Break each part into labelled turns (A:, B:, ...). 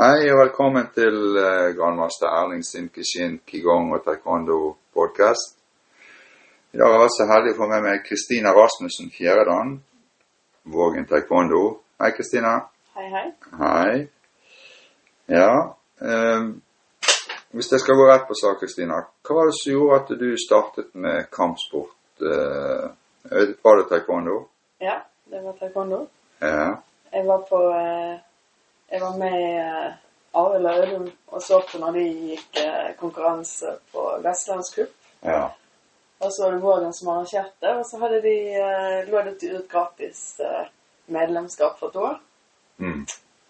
A: Hei og velkommen til eh, Grandmaster Erling Sinkeshin Qigong og Taekwondo podcast. I dag er jeg så heldig å få med meg Kristina Rasmussen Fjeredan, Vågen Taekwondo. Hei, Kristina.
B: Hei, hei.
A: Hei. Ja ehm, Hvis jeg skal gå rett på sak, Kristina. Hva var det som gjorde at du startet med kampsport? eh, var det taekwondo?
B: Ja, det var taekwondo.
A: Ja.
B: Jeg var på eh, Jeg var med eh, Arild og Audun og så på når de gikk eh, konkurranse på Vestlandscup.
A: ja.
B: Og så var det Vågen som arrangerte, og så hadde de eh, lå det ut gratis eh, medlemskap for et år.
A: Mm.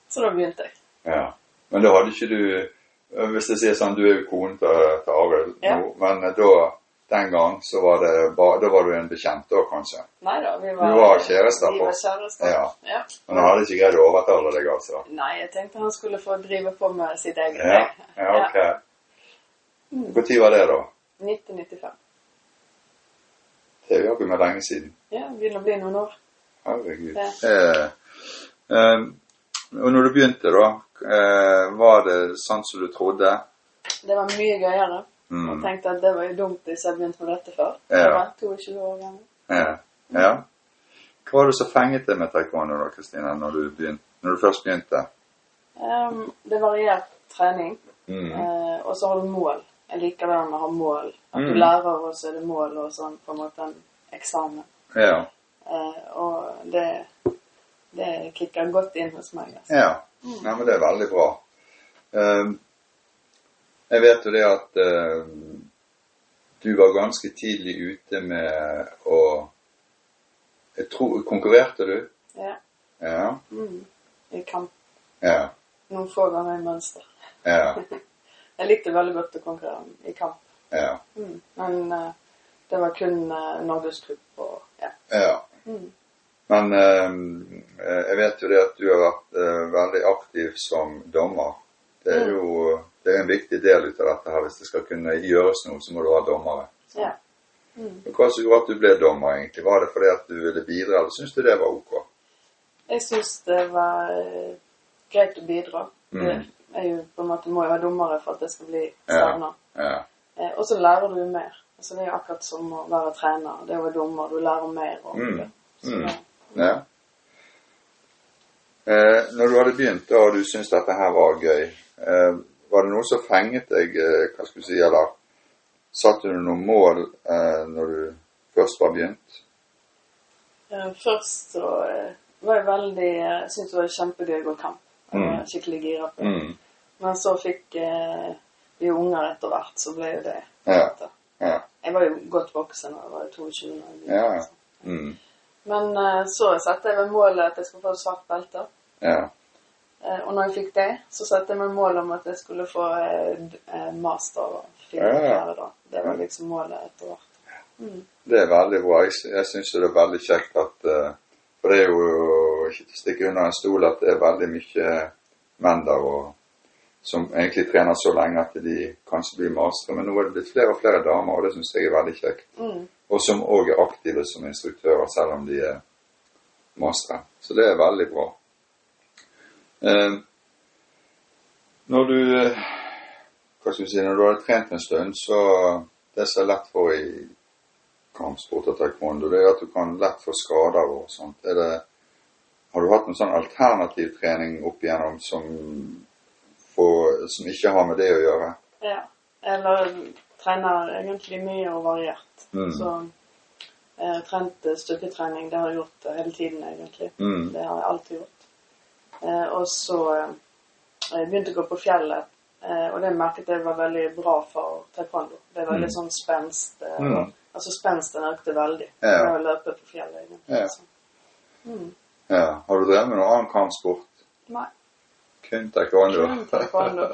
B: Så da begynte jeg.
A: Ja. Men da hadde ikke du eh, Hvis jeg sier sånn, du er jo konen til, til Arild
B: Ja.
A: nå, men eh, da den gang så var det bare, da var du en bekjent da, kanskje.
B: Nei da, vi var,
A: Vi var kjærester
B: Vi
A: på-
B: var kjærester.
A: Ja.
B: Ja.
A: Men han hadde ikke greid å overtale deg, altså.
B: Nei, jeg tenkte han skulle få drive på med sitt eget.
A: Ja, ja ok. Når var det, da?
B: 1995.
A: Det er jo jaggu meg lenge siden.
B: Ja, begynner å bli noen år.
A: Herregud.
B: Ja.
A: Eh, eh, og når du begynte, da, eh, var det sånn som du trodde?
B: Det var mye gøyere.
A: Mm.
B: Jeg tenkte at det var jo dumt hvis jeg begynte med dette før.
A: Ja.
B: Jeg var 22 år gammel.
A: Ja. ja. Hva var det som fenget deg med taekwondo, da, Kristina, når, du begyn- når du først begynte?
B: Ehm, det varierer trening,
A: Mm.
B: eh, og så har du mål. Jeg liker det med å ha mål. At du
A: Mm.
B: lærer, og så er det mål, og sånn på en måte en eksamen.
A: Ja.
B: Eh, og det, det kicker godt inn hos meg. Altså.
A: Ja, Nei, men det er veldig bra. Ehm, jeg vet jo det at ehm, du var ganske tidlig ute med å jeg tror, Konkurrerte du?
B: Ja.
A: Ja.
B: Mm. I kamp.
A: Ja.
B: Noen få ganger i mønster.
A: Ja.
B: Jeg likte veldig godt å konkurrere i kamp.
A: ja,
B: Mm. Men eh, det var kun uh, Norgescup og ja.
A: ja.
B: Mm.
A: Men ehm, eh, jeg vet jo det at du har vært eh, veldig aktiv som dommer. Det er
B: Mm.
A: jo det er en viktig del ut av dette her. Hvis det skal kunne gjøres noe, så må du ha dommere.
B: ja. Mm.
A: Men Hva som gjorde at du ble dommer, egentlig? Var det fordi at du ville bidra, eller syntes du det var ok?
B: Jeg syns det var eh, greit å bidra.
A: Mm.
B: Det- Jeg er jo på en måte må jo være dummere for at jeg skal bli
A: Ja.
B: stevner.
A: Ja.
B: Eh, Og så lærer du jo mer. Altså, det er jo akkurat som å være trener. Det å være dommer. Du lærer mer. Og,
A: Mm.
B: Så,
A: Mm.
B: ja.
A: ja. Eh, når du hadde begynt, da, og du syntes dette her var gøy, eh, var det noe som fenget deg, eh, hva skal du si, eller satte du noen mål eh, når du først var begynt?
B: Eh, Først så eh, var jeg veldig eh, Jeg syntes det var kjempegøy å gå kamp. Jeg var
A: Mm.
B: skikkelig gira på det. Men så fikk eh, vi unger etter hvert, så ble jo det eh,
A: Ja. Ja.
B: Jeg var jo godt voksen, jeg var jo 22 da jeg begynte,
A: Ja.
B: så.
A: Mm.
B: Men eh, så satte jeg meg målet at jeg skulle få et svart belte.
A: ja.
B: Eh, Og når jeg fikk det, så satte jeg meg mål om at jeg skulle få eh, d- eh, master og fire
A: Ja, ja.
B: karriere da. Det var liksom målet etter hvert. Mm.
A: Det er veldig bra. Jeg, sy- jeg syns det er veldig kjekt at eh, For det er jo ikke til å stikke under en stol at det er veldig mye menn der og, som egentlig trener så lenge at de kanskje blir mastere. Men nå er det blitt flere og flere damer, og det syns jeg er veldig kjekt.
B: Mm.
A: Og som òg er aktive som instruktører, selv om de er mastere. Så det er veldig bra. Eh, når du eh, hva skal vi si, når du hadde trent en stund, så det som er lett for i kampsport og taekwondo, det er at du kan lett få skader og sånt. Er det, har du hatt noen sånn alternativ trening opp igjennom som, får- som ikke har med det å gjøre?
B: Ja. Eller trener egentlig mye og variert.
A: Mm.
B: Så eh, trent eh, styrketrening, det har jeg gjort eh, hele tiden egentlig.
A: Mm.
B: Det har jeg alltid gjort. Eh, og så eh, jeg begynte å gå på fjellet, eh, og det merket jeg var veldig bra for taekwondo. Det var litt sånn spenst. Eh,
A: Mm.
B: og- Altså spensten økte veldig
A: Ja.
B: med å løpe på fjellet. egentlig.
A: Ja.
B: Så. Mm.
A: Ja. Har du drevet med noen annen kampsport?
B: Nei.
A: Kun taekwondo?
B: Kun taekwondo.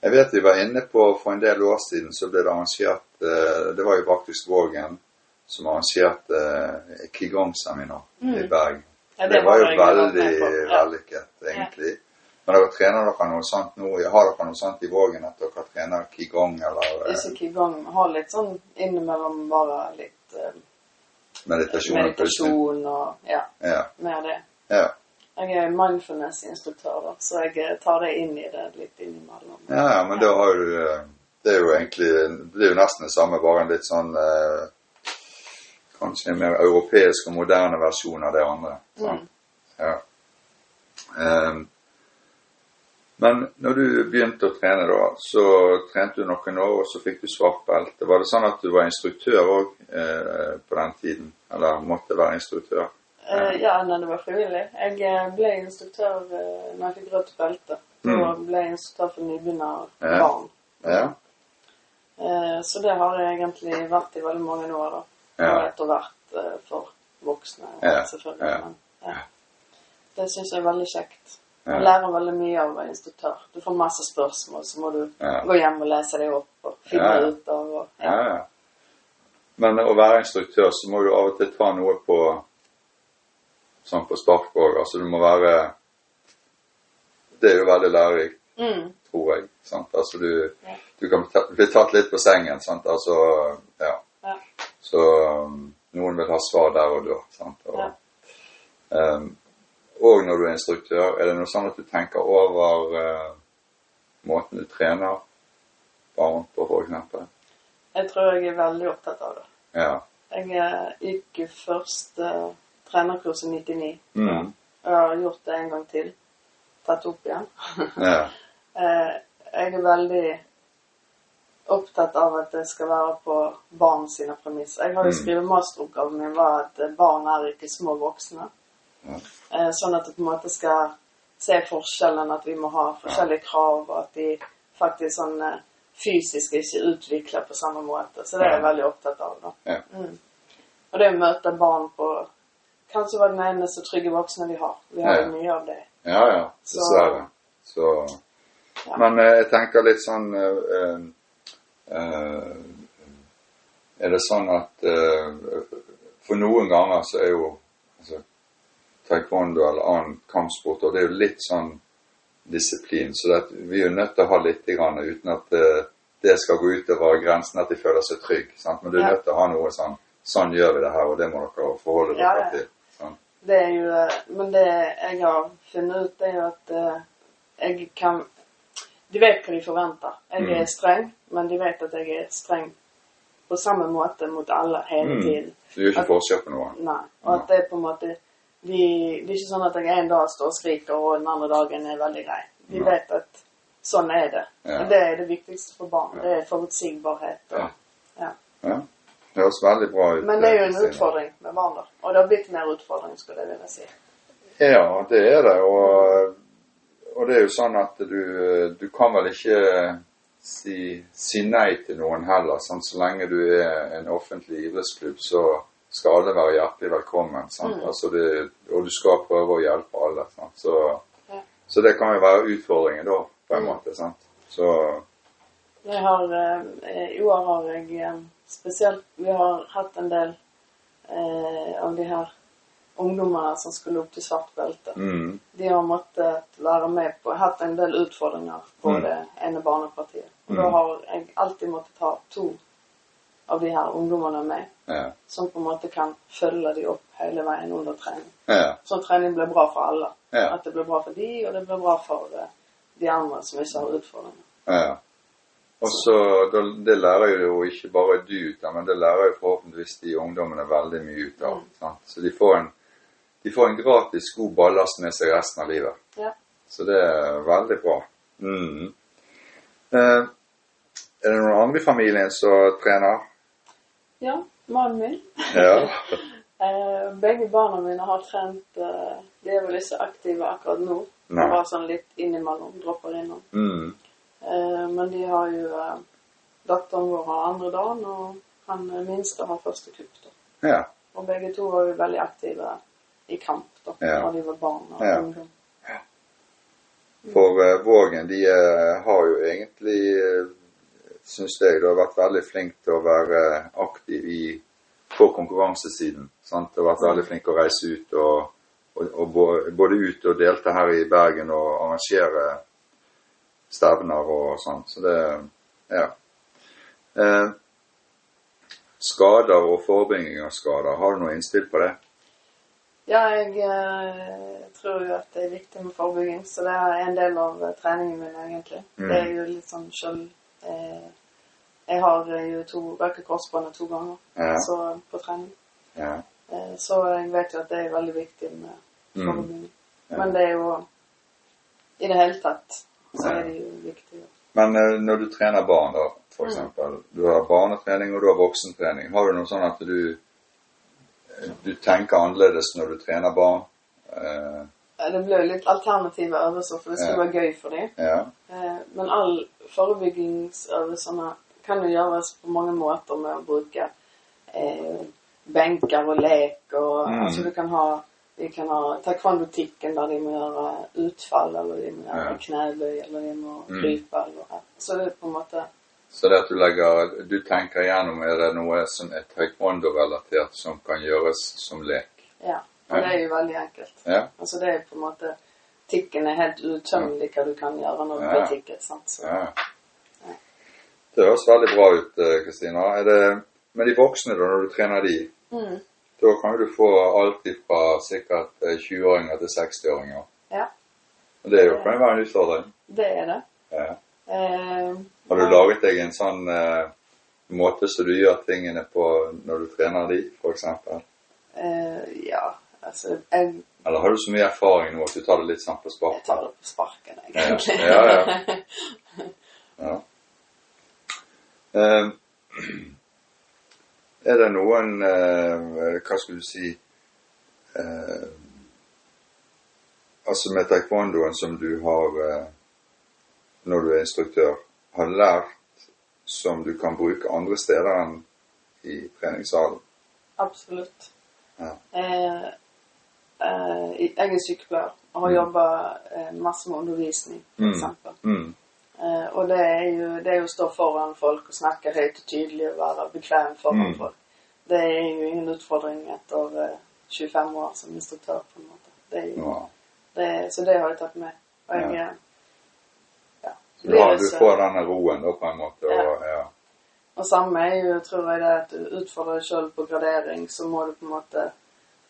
A: Jeg vet vi var inne på for en del år siden, så ble det arrangert eh, Det var jo faktisk Vågen som arrangerte eh, Qigong-seminar i
B: Mm.
A: Bergen.
B: Ja,
A: det, var jo
B: jeg glad
A: veldig
B: for. Ja.
A: vellykket, egentlig. Men dere trener dere noe sånt nå? Har dere noe sånt i Vågen at dere trener Qigong eller eh,
B: Disse Qigong har litt sånn innimellom bare litt eh,
A: meditasjon? og
B: meditasjon og ja,
A: pusting? Ja.
B: mer det.
A: ja.
B: Jeg er mindfulness-instruktør, da, så jeg eh, tar det inn i det litt innimellom.
A: Ja, ja, men da har du eh, Det er jo egentlig det blir jo nesten det samme, bare en litt sånn eh, Kanskje en mer europeisk og moderne versjon av det andre. sant? Ja. Ehm, men når du begynte å trene, da, så trente du noen år, og så fikk du svart belte. Var det sånn at du var instruktør òg eh, på den tiden? Eller måtte være instruktør?
B: Eh, ja, nei, det var frivillig. Jeg eh, ble instruktør eh, når jeg fikk rødt belte. Da
A: Mm.
B: ble jeg instruktør for nybegynnerbarn.
A: Ja. Ja.
B: Eh, Så det har jeg egentlig vært i veldig mange år, da.
A: Ja.
B: Og etter hvert eh, for voksne,
A: Ja,
B: selvfølgelig.
A: ja,
B: Men, ja. Det syns jeg er veldig kjekt.
A: Ja.
B: Man lærer veldig mye av å være instruktør. Du får masse spørsmål, så må du
A: Ja.
B: gå hjem og lese deg opp og finne
A: Ja, ja.
B: ut av og,
A: Ja, ja. Men å være instruktør, så må du av og til ta noe på sånn på spark òg. Altså du må være Det er jo veldig lærerikt,
B: Mm,
A: tror jeg. Sant? Altså du,
B: Ja.
A: du kan ta, bli tatt litt på sengen, sant. Altså ja.
B: ja.
A: Så um, noen vil ha svar der og da, sant. Og,
B: Ja.
A: um, og når du er instruktør, er det noe sånn at du tenker over eh, måten du trener barn på, for eksempel?
B: Jeg tror jeg er veldig opptatt av det.
A: Ja.
B: Jeg eh, gikk jo først eh, trenerkurs i 99.
A: Mm.
B: Og jeg har gjort det en gang til. Tatt opp igjen.
A: ja.
B: Eh, jeg er veldig opptatt av at det skal være på barn sine premisser. Jeg har jo
A: Mm.
B: skrevet masteroppgaven min var at eh, barn er ikke små voksne.
A: Ja.
B: Eh, sånn at du på en måte skal se forskjellen, at vi må ha forskjellige krav, og at de faktisk sånn eh, fysisk ikke utvikler på samme måte. Så det er jeg
A: Ja.
B: veldig opptatt av. da.
A: Ja.
B: Mm. Og det å møte barn på Kanskje var den eneste trygge voksne vi har. Vi har
A: Ja.
B: jo mye av det.
A: Ja, ja.
B: Så-
A: Dessverre. Så,
B: Ja.
A: Men eh, jeg tenker litt sånn eh, eh, Er det sånn at eh, For noen ganger så er jo altså, taekwondo eller annen kampsport og det er jo litt sånn disiplin. Så det, at vi er jo nødt til å ha litt grann, uten at eh, det skal gå utover grensen at de føler seg trygge. Sant? Men du er
B: Ja.
A: nødt til å ha noe sånn Sånn gjør vi det her, og det må dere forholde dere
B: Ja, ja.
A: til. Sant?
B: Det er jo, eh, men det jeg har funnet ut, er jo at eh, jeg kan De vet hva de forventer. Jeg
A: Mm.
B: er streng, men de vet at jeg er streng på samme måte mot alle hele
A: Mm.
B: tiden.
A: Du gjør
B: At-
A: ikke forskjell på noe.
B: Nei. Og at det er på en måte de, Det er ikke sånn at jeg en dag står og skriker, og den andre dagen er veldig grei. De
A: Nei.
B: vet at sånn er det.
A: Ja.
B: Og det er det viktigste for barn.
A: Ja.
B: Det er forutsigbarhet.
A: Ja.
B: Ja.
A: Ja. Det høres veldig bra ut. eh,
B: Men det er jo en
A: Kristine.
B: utfordring med barn, da. Og det har blitt mer utfordring, skulle jeg ville si.
A: Ja, det er det. Og, og det er jo sånn at du, du kan vel ikke si, si nei til noen heller. Sant? Så lenge du er en offentlig idrettsklubb, så skal alle være hjertelig velkommen. Sant?
B: Mm.
A: Altså det, og du skal prøve å hjelpe alle. Sant? Så,
B: Ja.
A: så det kan jo være utfordringen da, på en
B: Mm.
A: måte. Sant? Så
B: Jeg har, eh, I år har jeg eh, spesielt Vi har hatt en del eh, av de her ungdommene som skulle opp til svart belte.
A: mm,
B: De har måttet være med på Hatt en del utfordringer på
A: Mm.
B: det ene barnepartiet. Og da
A: Mm.
B: har jeg alltid måttet ha to av de her ungdommene med,
A: ja.
B: som på en måte kan følge de opp hele veien under trening.
A: Ja.
B: Sånn trening blir bra for alle.
A: Ja.
B: At det blir bra for de, og det blir bra for eh, de andre som ikke har utfordringer.
A: Ja. Og så, da- Det lærer jo ikke bare du ut av, men det lærer jo forhåpentligvis de ungdommene veldig mye ut av.
B: Mm.
A: Sant? Så de får, en, de får en gratis god ballast med seg resten av livet.
B: Ja.
A: Så det er veldig bra. Mm. Eh, er det noen andre i familien som trener?
B: ja mannen min
A: Ja.
B: Eh, begge barna mine har trent eh, De er vel ikke aktive akkurat nå.
A: Nei.
B: Bare sånn litt innimellom. Dropper innom.
A: Mm.
B: Eh, men de har jo eh, Datteren vår har andre dagen, og han eh, minste har første kupp. da.
A: Ja.
B: Og begge to var jo veldig aktive i kamp da
A: Ja.
B: da de var barn og
A: Ja.
B: ungdom.
A: For eh, Vågen de eh, har jo egentlig, syns jeg, da vært veldig flink til å være eh, aktiv i, på konkurransesiden. sant? Og vært veldig flink til å reise ut og, og, og bå- både ut og delta her i Bergen og arrangere stevner og sånn. Så det Ja. Eh, skader og forebygging av skader, har du noe innspill på det?
B: Ja, jeg eh, tror jo at det er viktig med forebygging, så det er en del av eh, treningen min, egentlig.
A: Mm.
B: Det er jo litt sånn sjøl eh, Jeg har eh, jo to røket korsbåndet to ganger
A: Ja.
B: så, på trening,
A: Ja.
B: eh, så jeg vet jo at det er veldig viktig med
A: Mm.
B: forebygging.
A: Ja.
B: Men det er jo I det hele tatt så
A: Ja.
B: er det jo viktig.
A: Men eh, når du trener barn, da, for eksempel. Du har barnetrening og du har voksentrening. Har du noe sånn at du, eh, du tenker annerledes når du trener barn? Eh,
B: Eh, Det ble jo litt alternative øvelser, for det skulle
A: Ja.
B: være gøy for dem.
A: ja.
B: Eh, Men all forebyggingsøvelsene kan jo gjøres på mange måter med å bruke eh, benker og lek og
A: Mm.
B: Altså du kan ha de kan ha taekwondo-tikken der de må gjøre utfall, eller de må gjøre
A: Ja.
B: knebøy, eller de må
A: Mm.
B: krype, eller ja. Så det er på en måte
A: Så det at du legger Du tenker gjennom er det noe som er taekwondo-relatert som kan gjøres som lek.
B: Ja. Og
A: Ja.
B: det er jo veldig enkelt.
A: Ja.
B: Altså det er på en måte Tikken er helt utømmelig hva du kan gjøre når du
A: Ja.
B: blir tikket, sant. Så.
A: ja. Det høres veldig bra ut, eh, Kristina. Er det- Men de voksne, da, når du trener de,
B: Mm.
A: da kan jo du få alt fra sikkert eh, 20-åringer til 60-åringer.
B: Ja.
A: Og Det er jo- kan jo være en utfordring.
B: Det er det.
A: Ja.
B: Eh,
A: Har du
B: men-
A: laget deg en sånn eh, måte som du gjør tingene på når du trener de, f.eks.?
B: Eh, ja, altså jeg,
A: Eller har du så mye erfaring nå at du tar det litt sånn på
B: jeg tar
A: sparket?
B: det på sparken, jeg,
A: Ja, ja.
B: egentlig.
A: Ja, Ja. Eh, er det noen eh, Hva skulle du si eh, Altså med taekwondoen som du har eh, når du er instruktør, har lært som du kan bruke andre steder enn i treningssalen?
B: Absolutt.
A: Ja.
B: Eh, eh, jeg er sykepleier og har
A: Mm.
B: jobba eh, masse med undervisning,
A: Mm.
B: f.eks. eksempel
A: Mm.
B: Eh, og det er, jo, det er jo å stå foran folk og snakke høyt og tydelig og være bekvem foran
A: Mm.
B: folk. Det er jo ingen utfordring etter eh, 25 år som instruktør, på en måte. Det er jo,
A: Ja.
B: det, så det har jeg tatt med. Og jeg,
A: Ja.
B: eh, ja.
A: Du, har, du
B: Blir det så-
A: får denne roen da, på en måte. Og, ja.
B: Og samme er jo, tror jeg, det at du utfordrer deg sjøl på gradering, så må du på en måte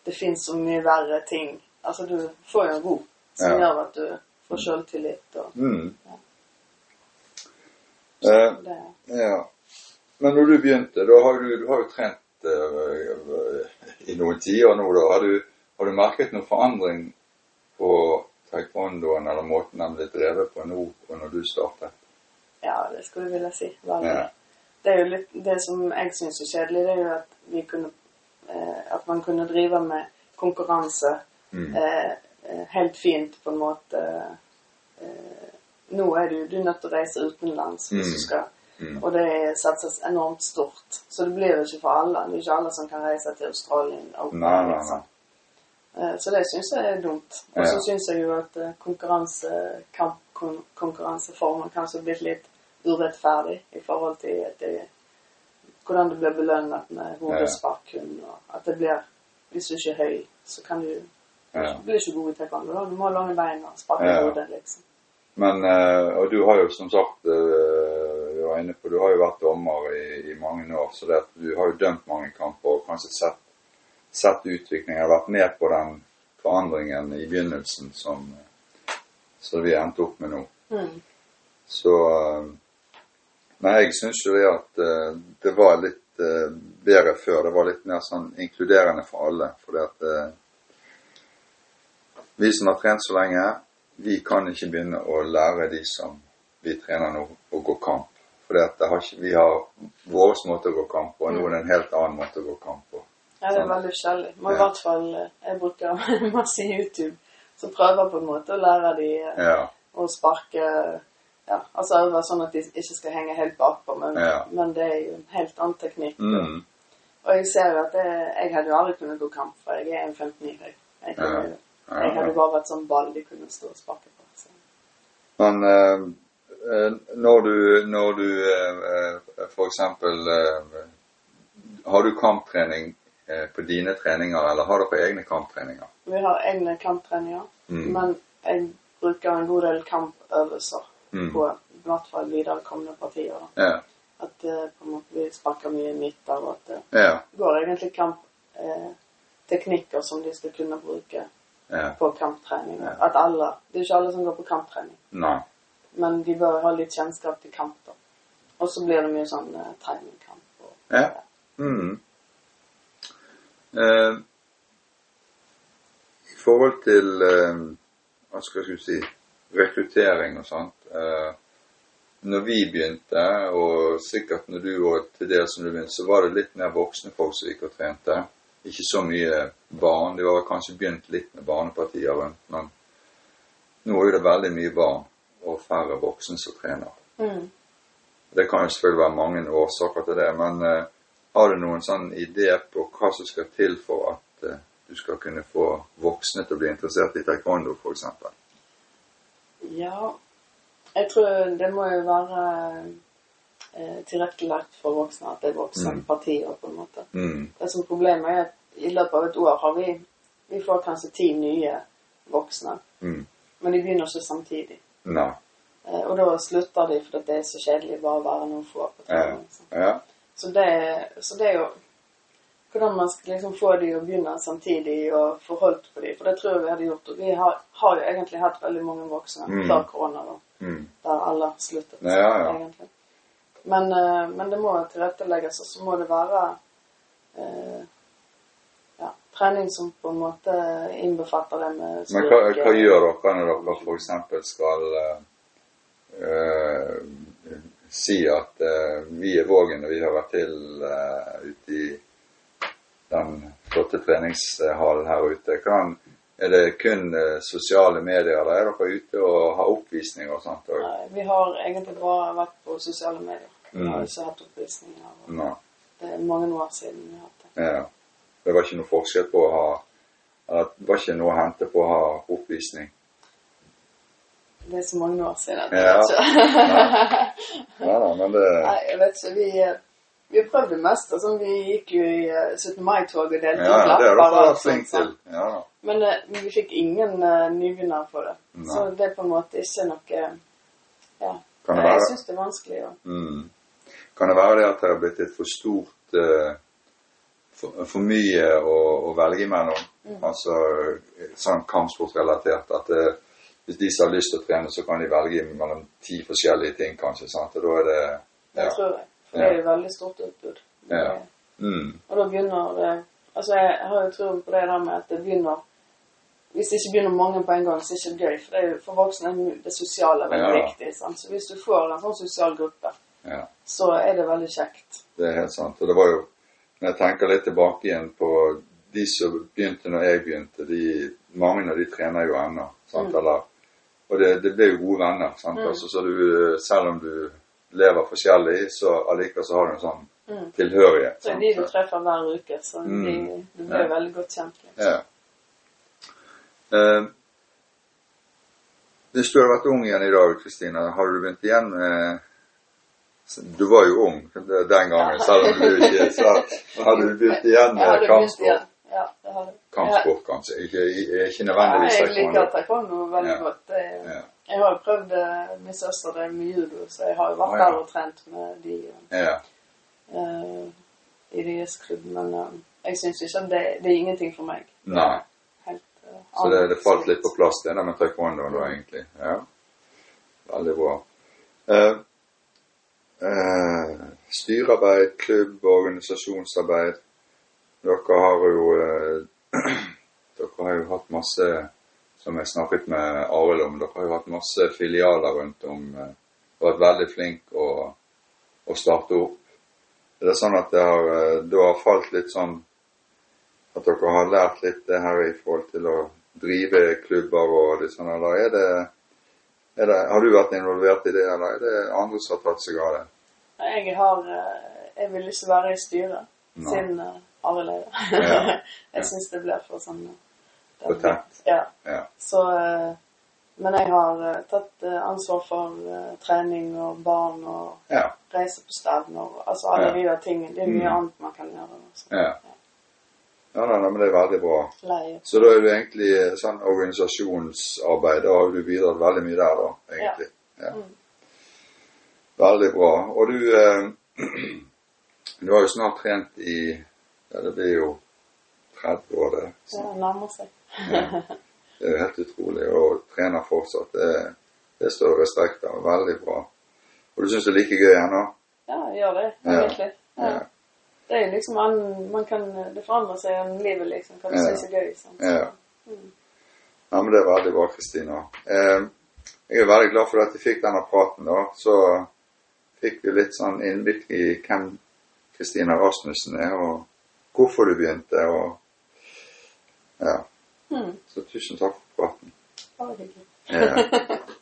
B: Det fins så mye verre ting. Altså, du får jo en ro som
A: Ja.
B: gjør at du får sjøltillit og
A: Mm. Eh,
B: det.
A: ja. Men når du begynte, da har du, du har jo trent eh, i noen tiår nå, da. Har du, har du merket noen forandring på taekwondoen eller måten den ble drevet på nå og når du startet?
B: Ja, det skulle jeg ville si. Veldig.
A: Ja.
B: Det er jo litt Det som jeg syns er kjedelig, det er jo at vi kunne eh, At man kunne drive med konkurranse
A: Mm.
B: eh, eh, helt fint, på en måte eh, Nå er du, du er nødt til å reise utenlands hvis
A: Mm.
B: du skal
A: Mm.
B: Og det satses enormt stort. Så det blir jo ikke for alle. Det er ikke alle som kan reise til Australia. Og
A: Nei, nei, nei.
B: liksom. Eh, Så det syns jeg er dumt. Og så
A: Ja.
B: syns jeg jo at eh, konkurranse, kamp, kon, konkurranseformen kanskje er blitt litt urettferdig i forhold til at det, hvordan du blir belønnet med hodesparkun. Og at det blir Hvis du ikke er høy, så kan du
A: Ja.
B: Du blir ikke god i taekwondo. da. Du må ha lange bein og sparke
A: Ja.
B: hodet, liksom.
A: Men, eh, og du har jo som sagt eh, du var inne på, du har jo vært dommer i, i mange år, så det at du har jo dømt mange kamper og kanskje sett, sett utviklingen, har vært med på den forandringen i begynnelsen som, som vi endte opp med nå.
B: Mm.
A: Så eh, Men jeg syns jo det at eh, det var litt eh, bedre før. Det var litt mer sånn inkluderende for alle. Fordi at eh, vi som har trent så lenge, vi kan ikke begynne å lære de som vi trener nå, å gå kamp. Fordi at det har ikke, vi har vår måte å gå kamp på, og nå er det en helt annen måte å gå kamp på.
B: Ja, det er
A: Sånn.
B: veldig forskjellig. Men i
A: Ja.
B: hvert fall eh, Jeg bruker masse YouTube, så prøver på en måte å lære de eh,
A: Ja,
B: å sparke ja, Altså øve sånn at de ikke skal henge helt bakpå, men,
A: Ja.
B: men det er jo en helt annen teknikk.
A: mm,
B: Og jeg ser jo at det, jeg hadde jo aldri kunnet gå kamp, for jeg er 1,59 høy. Jeg, kunne,
A: Ja.
B: jeg
A: ja,
B: hadde
A: ja.
B: bare vært sånn ball de kunne stå og sparke på. Så.
A: Men eh, eh, når du, når du eh, eh, for eksempel eh, Har du kamptrening eh, på dine treninger, eller har dere egne kamptreninger?
B: Vi har egne kamptreninger,
A: Mm.
B: men jeg bruker en god del kampøvelser
A: Mm.
B: på i hvert fall viderekomne partier. da.
A: Ja.
B: At eh, på en måte vi sparker mye midter, og at det
A: ja.
B: går egentlig kamp eh, teknikker som de skal kunne bruke
A: Ja.
B: på kamptrening.
A: Ja.
B: At alle, Det er ikke alle som går på kamptrening,
A: Nei.
B: men de bør ha litt kjennskap til kamp. da. Og så blir det mye sånn eh, timingkamp. og-
A: Ja. Mm. Eh, I forhold til eh, hva skal jeg si rekruttering og sånt eh, Når vi begynte, og sikkert når du òg til dels når du begynte, så var det litt mer voksne folk som gikk og trente. Ikke så mye barn. De var kanskje begynt litt med barnepartier rundt, men nå er det veldig mye barn og færre voksne som trener.
B: Mm.
A: Det kan jo selvfølgelig være mange årsaker til det, men eh, har du noen sånn idé på hva som skal til for at eh, du skal kunne få voksne til å bli interessert i taekwondo, f.eks.?
B: Ja Jeg tror det må jo være eh, tilrettelagt for voksne, at det er voksne
A: Mm.
B: partier, på en måte.
A: Mm.
B: Det som problemet er at i løpet av et år har vi vi får kanskje ti nye voksne,
A: Mm.
B: men de begynner ikke samtidig.
A: Nei.
B: Eh, Og da slutter de fordi det er så kjedelig bare å være noen få på trening. liksom.
A: Eh, Ja.
B: Så det, så det er jo hvordan man skal liksom få de å begynne samtidig og få holdt på de, for det tror jeg vi hadde gjort. Og vi har, har jo egentlig hatt veldig mange voksne
A: Mm.
B: før korona, da,
A: Mm.
B: der alle sluttet.
A: Ja, ja.
B: egentlig. Men, eh, men det må tilrettelegges, og så må det være eh, ja, trening som på en måte innbefatter det med
A: Men hva,
B: styrke.
A: hva gjør dere når dere f.eks. skal eh, eh, si at eh, vi er Vågen og vi hører til eh, ute i den flotte treningshallen her ute? Kan, er det kun eh, sosiale medier, eller er dere ute og har oppvisninger og sånt òg?
B: Nei, Vi har egentlig bare vært på sosiale medier. Vi har
A: Mm.
B: ikke hatt oppvisninger. og
A: Nei.
B: Det er mange år siden vi har hatt det.
A: Ja. Det var ikke noe forskjell på å ha eller Det var ikke noe å hente på å ha oppvisning.
B: Det er så mange år siden. at
A: Ja.
B: Jeg vet ikke.
A: Ja da, men det
B: Nei, jeg vet ikke. Vi, eh, vi prøvde det meste. Sånn, vi gikk jo i eh, 17. mai-toget og delte
A: ja,
B: ut
A: det har
B: lapper.
A: dere
B: og
A: vært
B: sånt,
A: flinke til.
B: sånn.
A: Ja da.
B: Men eh, men vi fikk ingen uh, nyvinner på det.
A: Nei.
B: Så det er på en måte ikke noe Ja.
A: Kan det
B: Nei, jeg
A: være-
B: syns det er vanskelig å
A: Mm. Kan det være det at det har blitt et for stort eh, for, for mye å, å velge imellom?
B: Mm.
A: Altså eh, sånn kampsportrelatert. At eh, hvis de som har lyst til å trene, så kan de velge mellom ti forskjellige ting, kanskje. sant? Og da er det
B: Det
A: ja.
B: tror jeg. For
A: Ja.
B: det er jo veldig stort utbud.
A: Ja.
B: Det-
A: Mm.
B: Og da begynner eh, Altså, jeg har jo troen på det der med at det begynner Hvis det ikke begynner mange på en gang, så er det ikke gøy. For, det er jo, for voksne er jo det sosiale veldig
A: Ja.
B: viktig. Sant? Så hvis du får en sånn sosial gruppe,
A: ja.
B: så er det veldig kjekt.
A: Det er helt sant. Og det var jo Når jeg tenker litt tilbake igjen på de som begynte når jeg begynte, de, mange av de trener jo ennå.
B: Mm.
A: sant? Eller, og det, det ble jo gode venner. sant? Altså, så du, selv om du lever forskjellig, så allikevel så har du en sånn
B: Mm.
A: tilhørighet.
B: Så er de du
A: sant?
B: treffer hver uke, så
A: Mm.
B: de, du blir
A: Ja.
B: veldig godt kjent. Liksom.
A: Ja. Eh, hvis du hadde vært ung igjen i dag, Kristina, hadde du begynt igjen med Du var jo ung den gangen, selv om du ikke så Hadde du begynt igjen
B: Jeg hadde
A: med
B: begynt igjen.
A: kampsport?
B: Ja, det hadde jeg.
A: Kampsport, kanskje. Ikke, i- ikke
B: Ja,
A: nødvendigvis
B: jeg liker
A: taekwondo.
B: taekwondo veldig
A: Ja.
B: godt. Det-
A: Ja.
B: Jeg har jo prøvd eh, Min søster drev med judo, så jeg har jo vært
A: Å, ja.
B: der og trent med de. Og,
A: Ja.
B: eh, i deres klubb, men eh, jeg syns ikke at det, det er ingenting for meg.
A: Nei.
B: Helt, eh,
A: Så det, det falt
B: annet.
A: litt på plass det der med taekwondoen da, egentlig. Ja. Veldig bra. Eh, eh, styrearbeid, klubb, organisasjonsarbeid. Dere har jo eh, Dere har jo hatt masse Som jeg snakket med Arild om, dere har jo hatt masse filialer rundt om. Eh, og vært veldig flink å, å starte opp. Er det sånn at det har, eh, det har falt litt sånn at dere har lært litt det her i forhold til å drive klubber og litt sånn, eller er det, er det Har du vært involvert i det, eller er det andre som har tatt seg av det?
B: Jeg har eh, Jeg vil ikke være i styret
A: Nei.
B: siden uh, Arild er det.
A: Ja, ja.
B: Jeg syns det blir for sånn eh, det
A: For
B: blir-
A: tett.
B: Ja.
A: Ja.
B: Så eh, Men jeg har eh, tatt eh, ansvar for eh, trening og barn og
A: Ja.
B: reise på stevner og altså alle
A: Ja.
B: de der tingene. Det er mye
A: Mm.
B: annet man kan gjøre. Altså.
A: Ja. Ja, nei, nei, men det er veldig bra.
B: Leie.
A: Så da er du egentlig eh, sånn organisasjonsarbeid, da har du bidratt veldig mye der, da, egentlig. Ja.
B: Mm.
A: Veldig bra. Og du eh, Du har jo snart trent i Ja, det blir jo 30 år, det.
B: Så det nærmer seg.
A: Ja. Det er jo helt utrolig. Og trener fortsatt. Det, det står det respekt av. Veldig bra. Og du syns det er like gøy ennå?
B: Ja, gjør det.
A: Ja.
B: Egentlig. Ja.
A: Ja.
B: Det er liksom an, man kan, eh, Det forandrer seg gjennom livet, liksom. Hva du
A: Ja.
B: synes er gøy. Sant? Så,
A: Ja.
B: Mm.
A: Ja, men det er veldig bra, Kristina. Eh, jeg er veldig glad for at vi fikk denne praten, da. Så fikk vi litt sånn innblikk i hvem Kristina Rasmussen er, og hvorfor du begynte, og Ja.
B: Mm.
A: Så tusen takk for praten.
B: Bare hyggelig.
A: Eh,